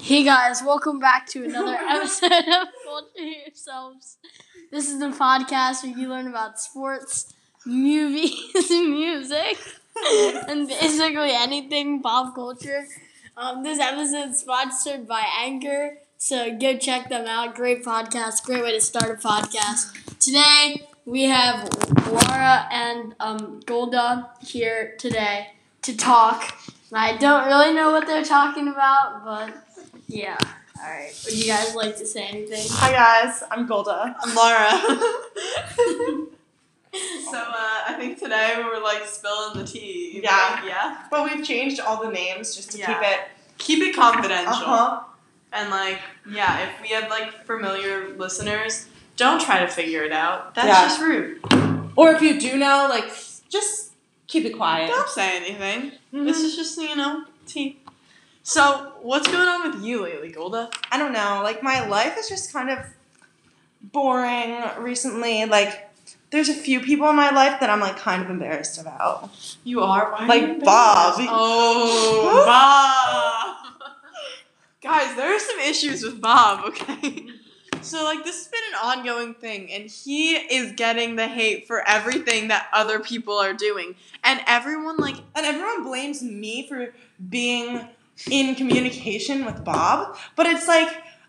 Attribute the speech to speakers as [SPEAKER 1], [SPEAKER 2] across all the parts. [SPEAKER 1] Hey guys, welcome back to another episode of Culture Yourselves. This is the podcast where you learn about sports, movies, music, and basically anything pop culture. Um, this episode is sponsored by Anchor, so go check them out. Great podcast, great way to start a podcast. Today we have Laura and um, Golda here today to talk. I don't really know what they're talking about, but yeah. All right. Would you guys like to say anything?
[SPEAKER 2] Hi guys, I'm Golda. I'm Laura.
[SPEAKER 3] So uh, I think today we were like spilling the tea.
[SPEAKER 2] Yeah.
[SPEAKER 3] Like, yeah.
[SPEAKER 2] but we've changed all the names just to keep
[SPEAKER 3] Yeah.
[SPEAKER 2] it.
[SPEAKER 3] Keep it confidential.
[SPEAKER 2] Uh huh.
[SPEAKER 3] And like, yeah, if we have like familiar listeners, don't try to figure it out. That's
[SPEAKER 2] Yeah.
[SPEAKER 3] just rude.
[SPEAKER 4] Or if you do know, like, just keep it quiet.
[SPEAKER 3] Don't say anything. This
[SPEAKER 2] Mm-hmm.
[SPEAKER 3] is just you know tea. So what's going on with you lately, Golda?
[SPEAKER 2] I don't know. Like my life is just kind of boring recently. Like there's a few people in my life that I'm like kind of embarrassed about.
[SPEAKER 3] You are why are
[SPEAKER 2] Like
[SPEAKER 3] you embarrassed?
[SPEAKER 2] Bob.
[SPEAKER 3] Oh, Bob. Guys, there are some issues with Bob. Okay. So like this has been an ongoing thing, and he is getting the hate for everything that other people are doing, and everyone like
[SPEAKER 2] And everyone blames me for being in communication with Bob, but it's like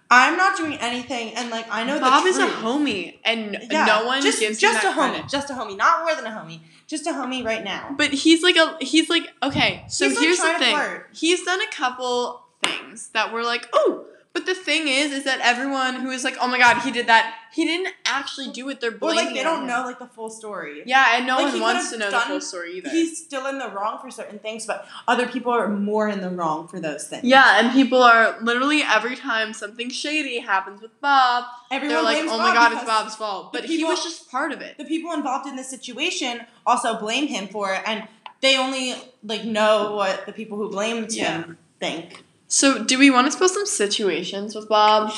[SPEAKER 2] I'm not doing anything and like I know
[SPEAKER 3] Bob
[SPEAKER 2] the
[SPEAKER 3] is a
[SPEAKER 2] truth.
[SPEAKER 3] homie, and
[SPEAKER 2] Yeah,
[SPEAKER 3] no one
[SPEAKER 2] just,
[SPEAKER 3] gives
[SPEAKER 2] just
[SPEAKER 3] him that
[SPEAKER 2] a homie,
[SPEAKER 3] credit.
[SPEAKER 2] just a homie, not more than a homie, just a homie right now.
[SPEAKER 3] But he's like a he's like okay. So
[SPEAKER 2] He's, like,
[SPEAKER 3] here's
[SPEAKER 2] trying
[SPEAKER 3] the
[SPEAKER 2] to
[SPEAKER 3] thing:
[SPEAKER 2] flirt.
[SPEAKER 3] he's done a couple things that were like oh. But the thing is, is that everyone who is like, oh my god, he did that, he didn't actually do it. They're
[SPEAKER 2] Or
[SPEAKER 3] blaming.
[SPEAKER 2] like they don't
[SPEAKER 3] him.
[SPEAKER 2] know like the full story.
[SPEAKER 3] Yeah, and no
[SPEAKER 2] Like, he
[SPEAKER 3] one wants to
[SPEAKER 2] could've
[SPEAKER 3] know
[SPEAKER 2] done-
[SPEAKER 3] the full story either.
[SPEAKER 2] He's still in the wrong for certain things, but other people are more in the wrong for those things.
[SPEAKER 3] Yeah, and people are literally every time something shady happens with Bob,
[SPEAKER 2] everyone
[SPEAKER 3] they're like,
[SPEAKER 2] blames
[SPEAKER 3] "Oh my
[SPEAKER 2] Bob
[SPEAKER 3] god, it's
[SPEAKER 2] because
[SPEAKER 3] Bob's fault."
[SPEAKER 2] the
[SPEAKER 3] But he
[SPEAKER 2] people-
[SPEAKER 3] was just part of it.
[SPEAKER 2] The people involved in this situation also blame him for it, and they only like know what the people who blamed him think.
[SPEAKER 3] So, do we want to spill some situations with Bob?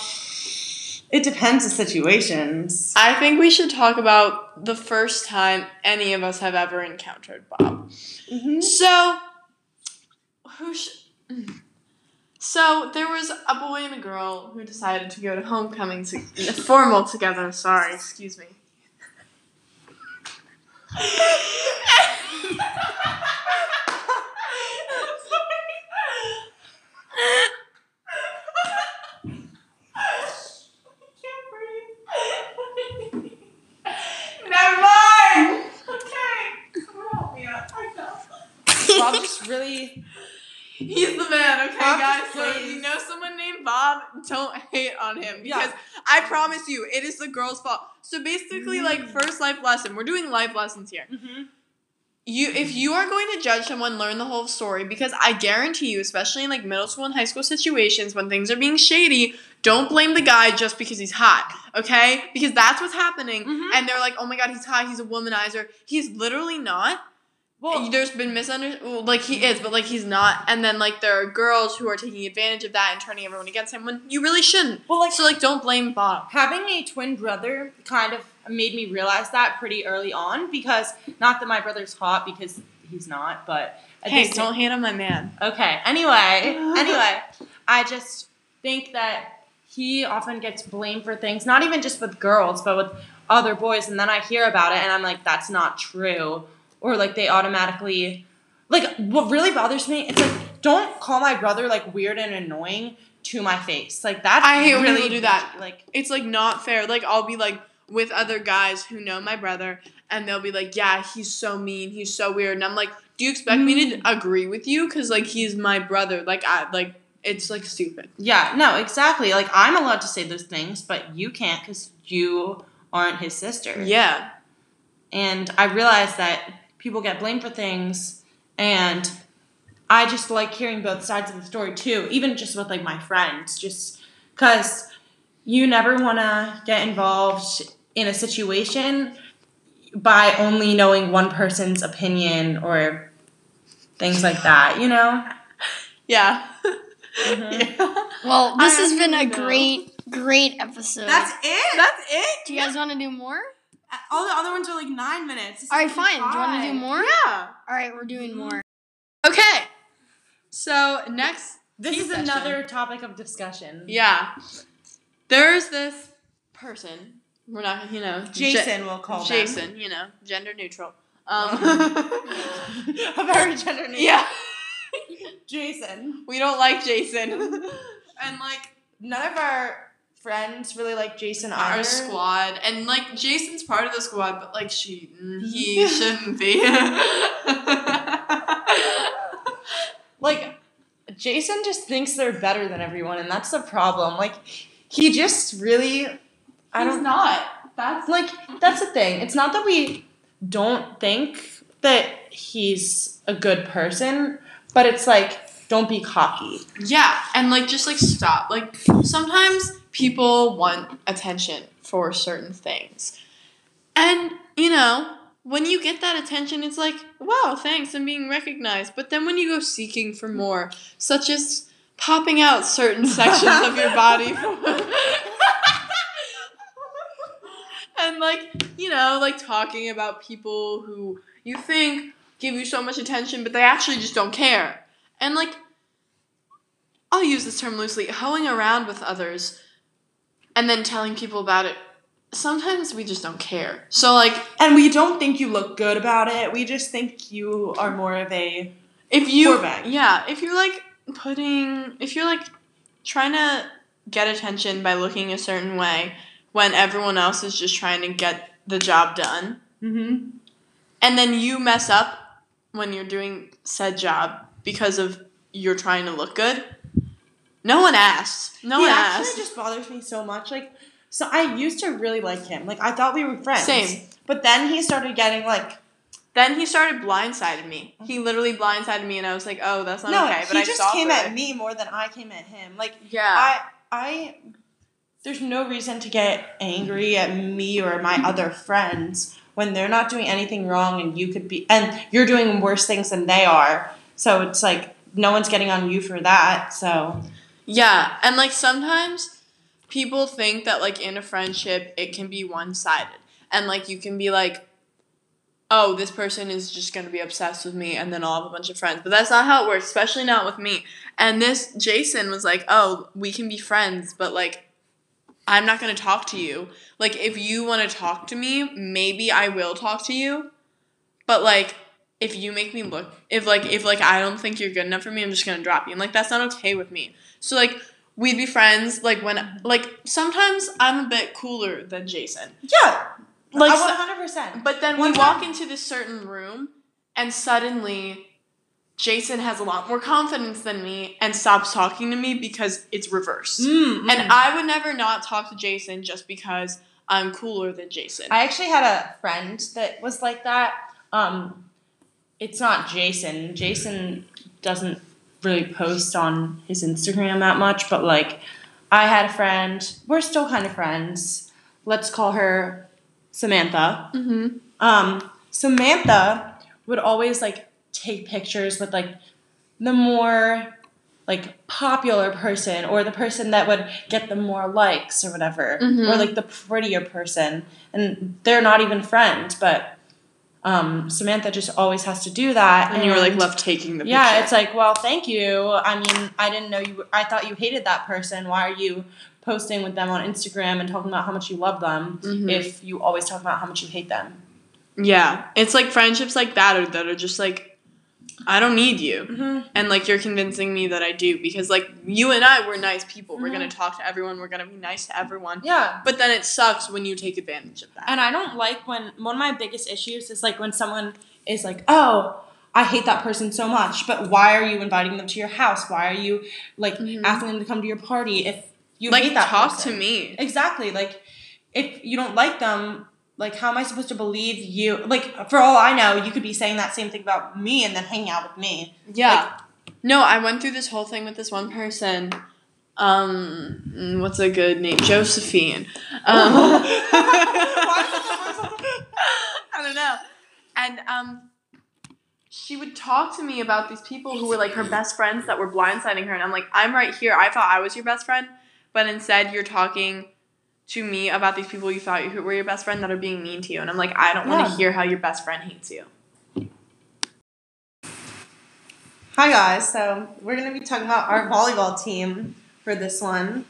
[SPEAKER 2] It depends on situations.
[SPEAKER 3] I think we should talk about the first time any of us have ever encountered Bob.
[SPEAKER 2] Mm-hmm.
[SPEAKER 3] So, who sh- mm. So, there was a boy and a girl who decided to go to homecoming to- formal together. Sorry, excuse me.
[SPEAKER 2] Never mind. Okay, someone help me out. I Bob just really.
[SPEAKER 3] He's the man, okay,
[SPEAKER 2] Bob
[SPEAKER 3] guys? So if
[SPEAKER 2] plays-
[SPEAKER 3] you know someone named Bob, don't hate on him
[SPEAKER 2] Yeah.
[SPEAKER 3] because I promise you, it is the girl's fault. So basically, like
[SPEAKER 2] Mm.
[SPEAKER 3] first life lesson, we're doing life lessons here. You, if you are going to judge someone, learn the whole story because I guarantee you, especially in like middle school and high school situations when things are being shady, don't blame the guy just because he's hot, okay? Because that's what's happening,
[SPEAKER 2] Mhm.
[SPEAKER 3] and they're like, "Oh my god, he's hot. He's a womanizer. He's literally not."
[SPEAKER 2] Well,
[SPEAKER 3] there's been misunderstanding. Well, like he is, but like he's not. And then like there are girls who are taking advantage of that and turning everyone against him when you really shouldn't.
[SPEAKER 2] well, like
[SPEAKER 3] So like don't blame Bob.
[SPEAKER 2] having a twin brother kind of made me realize that pretty early on because not that my brother's hot because he's not, but at
[SPEAKER 3] Hey,
[SPEAKER 2] the same-
[SPEAKER 3] don't hate on my man.
[SPEAKER 2] Okay. Anyway, anyway, I just think that he often gets blamed for things, not even just with girls, but with other boys. And then I hear about it, and I'm like, that's not true. Or like they automatically, like what really bothers me, it's like don't call my brother like weird and annoying to my face. Like that's
[SPEAKER 3] I hate when
[SPEAKER 2] really
[SPEAKER 3] people do that.
[SPEAKER 2] Like
[SPEAKER 3] It's like not fair. Like I'll be like with other guys who know my brother, and they'll be like, "Yeah, he's so mean. He's so weird." And I'm like, "Do you expect me to agree with you? Because like he's my brother. Like I like it's like stupid."
[SPEAKER 2] yeah, no, exactly. Like I'm allowed to say those things, but you can't because you aren't his sister.
[SPEAKER 3] Yeah.
[SPEAKER 2] and I realize that people get blamed for things, and I just like hearing both sides of the story too, even just with like my friends, just because you never want to get involved in a situation by only knowing one person's opinion or things like that, you know?
[SPEAKER 3] Yeah.
[SPEAKER 2] Mhm.
[SPEAKER 3] yeah.
[SPEAKER 1] Well, this
[SPEAKER 3] I
[SPEAKER 1] has been a
[SPEAKER 3] don't know.
[SPEAKER 1] great, great episode.
[SPEAKER 2] it.
[SPEAKER 3] That's it.
[SPEAKER 1] do you guys want to do more?
[SPEAKER 2] All the other ones are like nine minutes.
[SPEAKER 1] All right, fine. Do you want to do more?
[SPEAKER 3] Yeah. Mm-hmm.
[SPEAKER 1] All right, we're doing more.
[SPEAKER 3] Okay. So next
[SPEAKER 2] This
[SPEAKER 3] Tea
[SPEAKER 2] is
[SPEAKER 3] session.
[SPEAKER 2] another topic of discussion.
[SPEAKER 3] Yeah. There's this person. We're not, you know, ge-
[SPEAKER 2] Jason, we'll call them.
[SPEAKER 3] Jason, you know, gender neutral. Um,
[SPEAKER 2] a very gender neutral.
[SPEAKER 3] yeah,
[SPEAKER 2] Jason.
[SPEAKER 3] we don't like Jason.
[SPEAKER 2] And like none of our friends really like Jason either.
[SPEAKER 3] Our squad, and like Jason's part of the squad, but like she, mm, he shouldn't be.
[SPEAKER 2] Like Jason just thinks they're better than everyone, and that's the problem. Like he just really I don't
[SPEAKER 3] not. That's
[SPEAKER 2] like that's the thing. It's not that we don't think that he's a good person, but it's like don't be cocky.
[SPEAKER 3] yeah, and like just like stop. Like sometimes people want attention for certain things, and you know when you get that attention, it's like wow, thanks, I'm being recognized. But then when you go seeking for more, such as popping out certain sections of your body. From- and like you know like talking about people who you think give you so much attention but they actually just don't care and like i'll use this term loosely hoeing around with others and then telling people about it sometimes we just don't care so like
[SPEAKER 2] And we don't think you look good about it. We just think you are more of a
[SPEAKER 3] if you
[SPEAKER 2] Poor bag.
[SPEAKER 3] yeah if you're like putting if you're like trying to get attention by looking a certain way when everyone else is just trying to get the job done
[SPEAKER 2] mm-hmm.
[SPEAKER 3] and then you mess up when you're doing said job because of you're trying to look good. No one asked. No
[SPEAKER 2] he
[SPEAKER 3] one
[SPEAKER 2] actually
[SPEAKER 3] asked.
[SPEAKER 2] just bothers me so much. Like, so I used to really like him. Like, I thought we were friends.
[SPEAKER 3] Same.
[SPEAKER 2] But then he started getting like,
[SPEAKER 3] Then he started blindsiding me. He literally blindsided me, and I was like, "Oh, that's not
[SPEAKER 2] no,
[SPEAKER 3] okay." But
[SPEAKER 2] he
[SPEAKER 3] I
[SPEAKER 2] just
[SPEAKER 3] saw
[SPEAKER 2] came
[SPEAKER 3] through
[SPEAKER 2] at
[SPEAKER 3] it.
[SPEAKER 2] me more than I came at him. Like,
[SPEAKER 3] Yeah,
[SPEAKER 2] I, I, there's no reason to get angry at me or my other friends when they're not doing anything wrong and you could be, and you're doing worse things than they are. So it's like, no one's getting on you for that. So,
[SPEAKER 3] yeah, and like sometimes people think that like in a friendship it can be one sided, and like you can be like, "Oh, this person is just gonna be obsessed with me," and then I'll have a bunch of friends. But that's not how it works, especially not with me. And this Jason was like, "Oh, we can be friends, but like I'm not going to talk to you. Like if you want to talk to me, maybe I will talk to you. But like if you make me look if like if like I don't think you're good enough for me, I'm just going to drop you. And like that's not okay with me. So like we'd be friends like when like sometimes I'm a bit cooler than Jason.
[SPEAKER 2] yeah,
[SPEAKER 3] Like
[SPEAKER 2] like
[SPEAKER 3] so-
[SPEAKER 2] 100%.
[SPEAKER 3] but then
[SPEAKER 2] One
[SPEAKER 3] we
[SPEAKER 2] time-
[SPEAKER 3] walk into this certain room, and suddenly Jason has a lot more confidence than me and stops talking to me because it's reversed.
[SPEAKER 2] Mm.
[SPEAKER 3] And I would never not talk to Jason just because I'm cooler than Jason.
[SPEAKER 2] I actually had a friend that was like that. Um, it's not Jason. Jason doesn't really post on his Instagram that much, but like, I had a friend. We're still kind of friends. Let's call her Samantha.
[SPEAKER 3] mm-hmm.
[SPEAKER 2] Um, Samantha would always like take pictures with like the more like popular person or the person that would get the more likes or whatever
[SPEAKER 3] Mhm.
[SPEAKER 2] or like the prettier person and they're not even friends but um, Samantha just always has to do that
[SPEAKER 3] And you were like left taking the
[SPEAKER 2] yeah
[SPEAKER 3] picture.
[SPEAKER 2] it's like well thank you I mean I didn't know you were- I thought you hated that person why are you posting with them on Instagram and talking about how much you love them
[SPEAKER 3] Mhm.
[SPEAKER 2] if you always talk about how much you hate them
[SPEAKER 3] yeah, it's like friendships like that are that are just like I don't need you,
[SPEAKER 2] mm-hmm.
[SPEAKER 3] and like you're convincing me that I do because like you and I we're nice people. We're
[SPEAKER 2] Mhm.
[SPEAKER 3] gonna talk to everyone. We're gonna be nice to everyone.
[SPEAKER 2] yeah
[SPEAKER 3] But then it sucks when you take advantage of that.
[SPEAKER 2] And I don't like when one of my biggest issues is like when someone is like, oh, I hate that person so much, but why are you inviting them to your house? Why are you like
[SPEAKER 3] Mhm.
[SPEAKER 2] asking them to come to your party if you
[SPEAKER 3] like
[SPEAKER 2] hate that
[SPEAKER 3] talk
[SPEAKER 2] person?
[SPEAKER 3] to me.
[SPEAKER 2] Exactly. Like if you don't like them, like how am I supposed to believe you? Like for all I know, you could be saying that same thing about me and then hanging out with me.
[SPEAKER 3] Yeah. no, I went through this whole thing with this one person. Um, mm, what's a good name? Josephine. Um,
[SPEAKER 2] Why is that the first one?
[SPEAKER 3] I don't know. And um, she would talk to me about these people who were like her best friends that were blindsiding her, and I'm like, I'm right here. I thought I was your best friend, but instead you're talking to me about these people you thought who were your best friend that are being mean to you, and I'm like, I don't want
[SPEAKER 2] Yeah.
[SPEAKER 3] to hear how your best friend hates you.
[SPEAKER 2] Hi guys. So we're gonna be talking about our volleyball team for this one,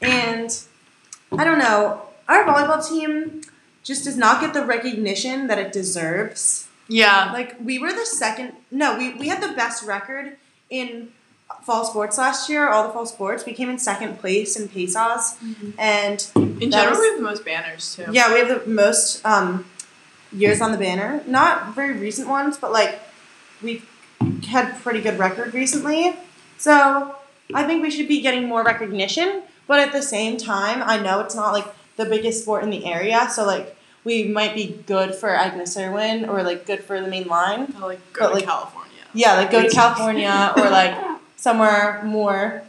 [SPEAKER 2] and I don't know. Our volleyball team just does not get the recognition that it deserves.
[SPEAKER 3] Yeah.
[SPEAKER 2] Like we were the second. No, we we had the best record in fall sports last year. All the fall sports, we came in second place in Pesos, and That
[SPEAKER 3] In general,
[SPEAKER 2] was-
[SPEAKER 3] we have the most banners too.
[SPEAKER 2] yeah, we have the most um, years on the banner. Not very recent ones, but like we've had pretty good record recently. So I think we should be getting more recognition. But at the same time, I know it's not like the biggest sport in the area. So like we might be good for Agnes Irwin or like good for the main line.
[SPEAKER 3] To, like
[SPEAKER 2] But,
[SPEAKER 3] go to
[SPEAKER 2] like-
[SPEAKER 3] California.
[SPEAKER 2] Yeah, like go to California or like somewhere more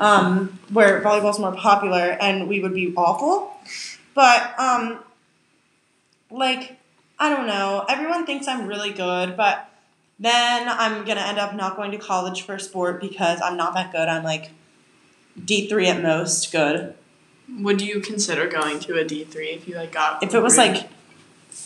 [SPEAKER 2] um, where volleyball's more popular, and we would be awful. But um, like I don't know, everyone thinks I'm really good, but then I'm gonna end up not going to college for sport because I'm not that good. I'm like D three at most good.
[SPEAKER 3] Would you consider going to a D three if you like got?
[SPEAKER 2] If it was
[SPEAKER 3] recruited?
[SPEAKER 2] like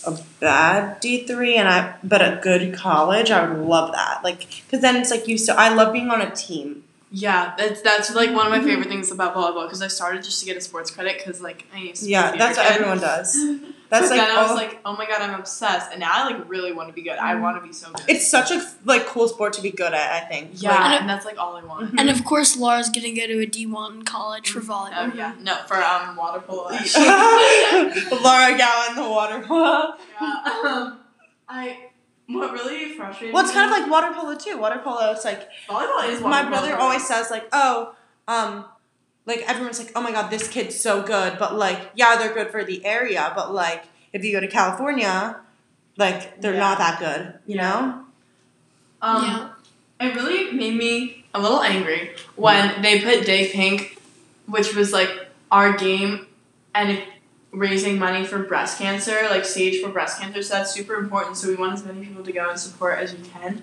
[SPEAKER 2] a bad D three and I but a good college, I would love that. Like because then it's like you. So I love being on a team.
[SPEAKER 3] Yeah, that's that's like one of
[SPEAKER 2] Mm-hmm.
[SPEAKER 3] my favorite things about volleyball because I started just to get a sports credit because like I used to be a
[SPEAKER 2] Yeah,
[SPEAKER 3] theater
[SPEAKER 2] that's what
[SPEAKER 3] kid.
[SPEAKER 2] everyone does. That's
[SPEAKER 3] but
[SPEAKER 2] like,
[SPEAKER 3] then I was
[SPEAKER 2] all- Mm-hmm.
[SPEAKER 3] like, oh my god, I'm obsessed, and now I like really want to be good. I want to be so good.
[SPEAKER 2] it's such a like cool sport to be good at. I think.
[SPEAKER 3] yeah,
[SPEAKER 1] And it-
[SPEAKER 3] and that's like all I want.
[SPEAKER 1] And of course, Laura's gonna go to a D1 college for volleyball.
[SPEAKER 3] Oh yeah, no for um water polo.
[SPEAKER 2] Like,
[SPEAKER 3] actually.
[SPEAKER 2] Laura Gowan, the water polo.
[SPEAKER 3] yeah, um, I what really frustrated.
[SPEAKER 2] Well, it's kind
[SPEAKER 3] me-
[SPEAKER 2] of like water polo too. Water polo, it's like
[SPEAKER 3] volleyball is
[SPEAKER 2] my
[SPEAKER 3] water
[SPEAKER 2] brother
[SPEAKER 3] polo.
[SPEAKER 2] always says, like, oh, um, like everyone's like, oh my god, this kid's so good, but like, yeah, they're good for the area, but like, if you go to California, like, they're
[SPEAKER 3] Yeah.
[SPEAKER 2] not that good, you know?
[SPEAKER 3] Um,
[SPEAKER 1] Yeah.
[SPEAKER 3] It really made me a little angry when they put Day Pink, which was like our game and raising money for breast cancer, like stage for breast cancer. So that's super important. So we want as many people to go and support as we can.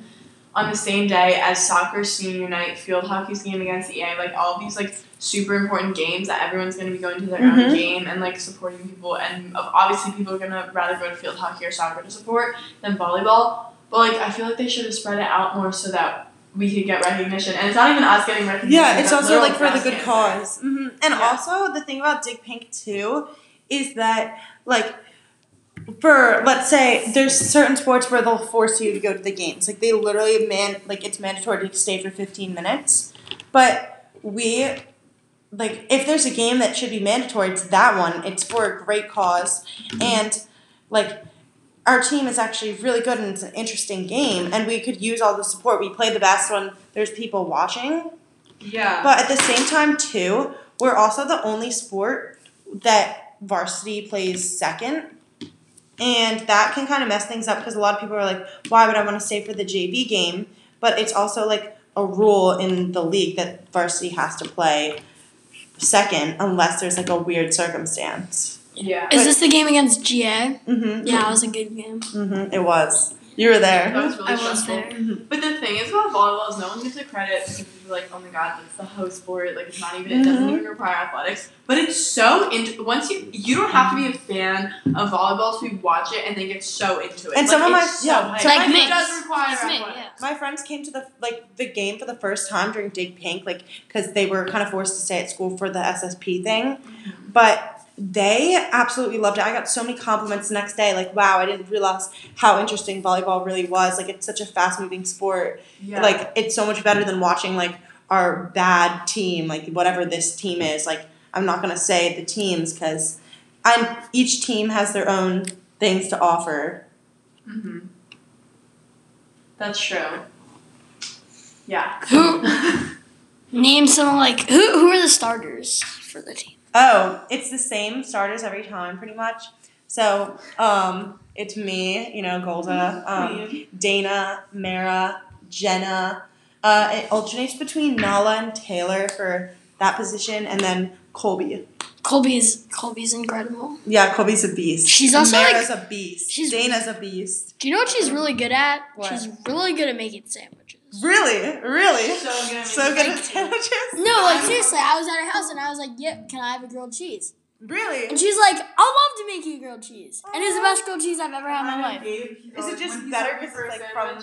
[SPEAKER 3] On the same day as soccer senior night, field hockey's game against the EA, like all these like super important games that everyone's gonna be going to their
[SPEAKER 2] Mhm.
[SPEAKER 3] own game and like supporting people and obviously people are gonna rather go to field hockey or soccer to support than volleyball. But like I feel like they should have spread it out more so that we could get recognition. And it's not even us getting recognition.
[SPEAKER 2] Yeah, it's
[SPEAKER 3] that's
[SPEAKER 2] also
[SPEAKER 3] literal
[SPEAKER 2] like for the
[SPEAKER 3] breast
[SPEAKER 2] good
[SPEAKER 3] cancer.
[SPEAKER 2] because hmm And
[SPEAKER 3] Yeah.
[SPEAKER 2] also the thing about Dick Pink too is that like for let's say there's certain sports where they'll force you to go to the games. Like they literally man like it's mandatory to stay for 15 minutes. But we like if there's a game that should be mandatory, it's that one. It's for a great cause and like our team is actually really good and it's an interesting game and we could use all the support. We play the best when there's people watching.
[SPEAKER 3] Yeah.
[SPEAKER 2] But at the same time, too, we're also the only sport that varsity plays second. And that can kind of mess things up because a lot of people are like, why would I want to stay for the JV game? But it's also like a rule in the league that varsity has to play second unless there's like a weird circumstance.
[SPEAKER 3] yeah.
[SPEAKER 1] Is this the game against GA?
[SPEAKER 2] Mm-hmm.
[SPEAKER 1] Yeah, it was a good game.
[SPEAKER 2] Mm-hmm. It was. You were there. Mm-hmm.
[SPEAKER 3] That was really
[SPEAKER 1] I was
[SPEAKER 3] stressful.
[SPEAKER 1] there.
[SPEAKER 3] But the thing is about volleyball is no one gives it credit because people are like, oh my god, that's the hoe sport. Like it's not even it doesn't
[SPEAKER 2] Mhm.
[SPEAKER 3] even require athletics. But it's so into once you you don't have to be a fan of volleyball to watch it and then get so into it.
[SPEAKER 2] And
[SPEAKER 3] like,
[SPEAKER 2] some of my-
[SPEAKER 3] it's so
[SPEAKER 2] yeah,
[SPEAKER 3] hype.
[SPEAKER 1] some of
[SPEAKER 3] Like,
[SPEAKER 1] my-
[SPEAKER 3] it does require athletics.
[SPEAKER 2] My friends came to the like the game for the first time during Dig Pink, like because they were kind of forced to stay at school for the SSP thing, but they absolutely loved it. I got so many compliments the next day, like wow, I didn't realize how interesting volleyball really was. Like it's such a fast moving sport.
[SPEAKER 3] Yeah.
[SPEAKER 2] Like it's so much better than watching like our bad team, like whatever this team is. Like I'm not gonna say the teams because I'm each team has their own things to offer.
[SPEAKER 3] hmm That's true. Yeah.
[SPEAKER 1] Who name some like who who are the starters for the team?
[SPEAKER 2] Oh, it's the same starters every time, pretty much. So, um, it's me, you know,
[SPEAKER 1] Mm-hmm.
[SPEAKER 2] Golda, um, Dana, Mara, Jenna. Uh, it alternates between Nala and Taylor for that position, and then Colby.
[SPEAKER 1] Colby is Colby's incredible.
[SPEAKER 2] Yeah, Colby's a beast.
[SPEAKER 1] She's also, like-
[SPEAKER 2] Mara's a beast.
[SPEAKER 1] she's-
[SPEAKER 2] Dana's a beast.
[SPEAKER 1] Do you know what she's really good at?
[SPEAKER 2] What?
[SPEAKER 1] She's really good at making sandwiches.
[SPEAKER 2] Really, really,
[SPEAKER 3] So good at
[SPEAKER 2] so good
[SPEAKER 1] making
[SPEAKER 2] at sandwiches.
[SPEAKER 1] No, like seriously, I was at her house and I was like, "Yep, can I have a grilled cheese?"
[SPEAKER 2] really.
[SPEAKER 1] And she's like, "I'll love to make you grilled cheese, and it's the best grilled cheese I've ever had in my life."
[SPEAKER 2] Is it just better because it's like from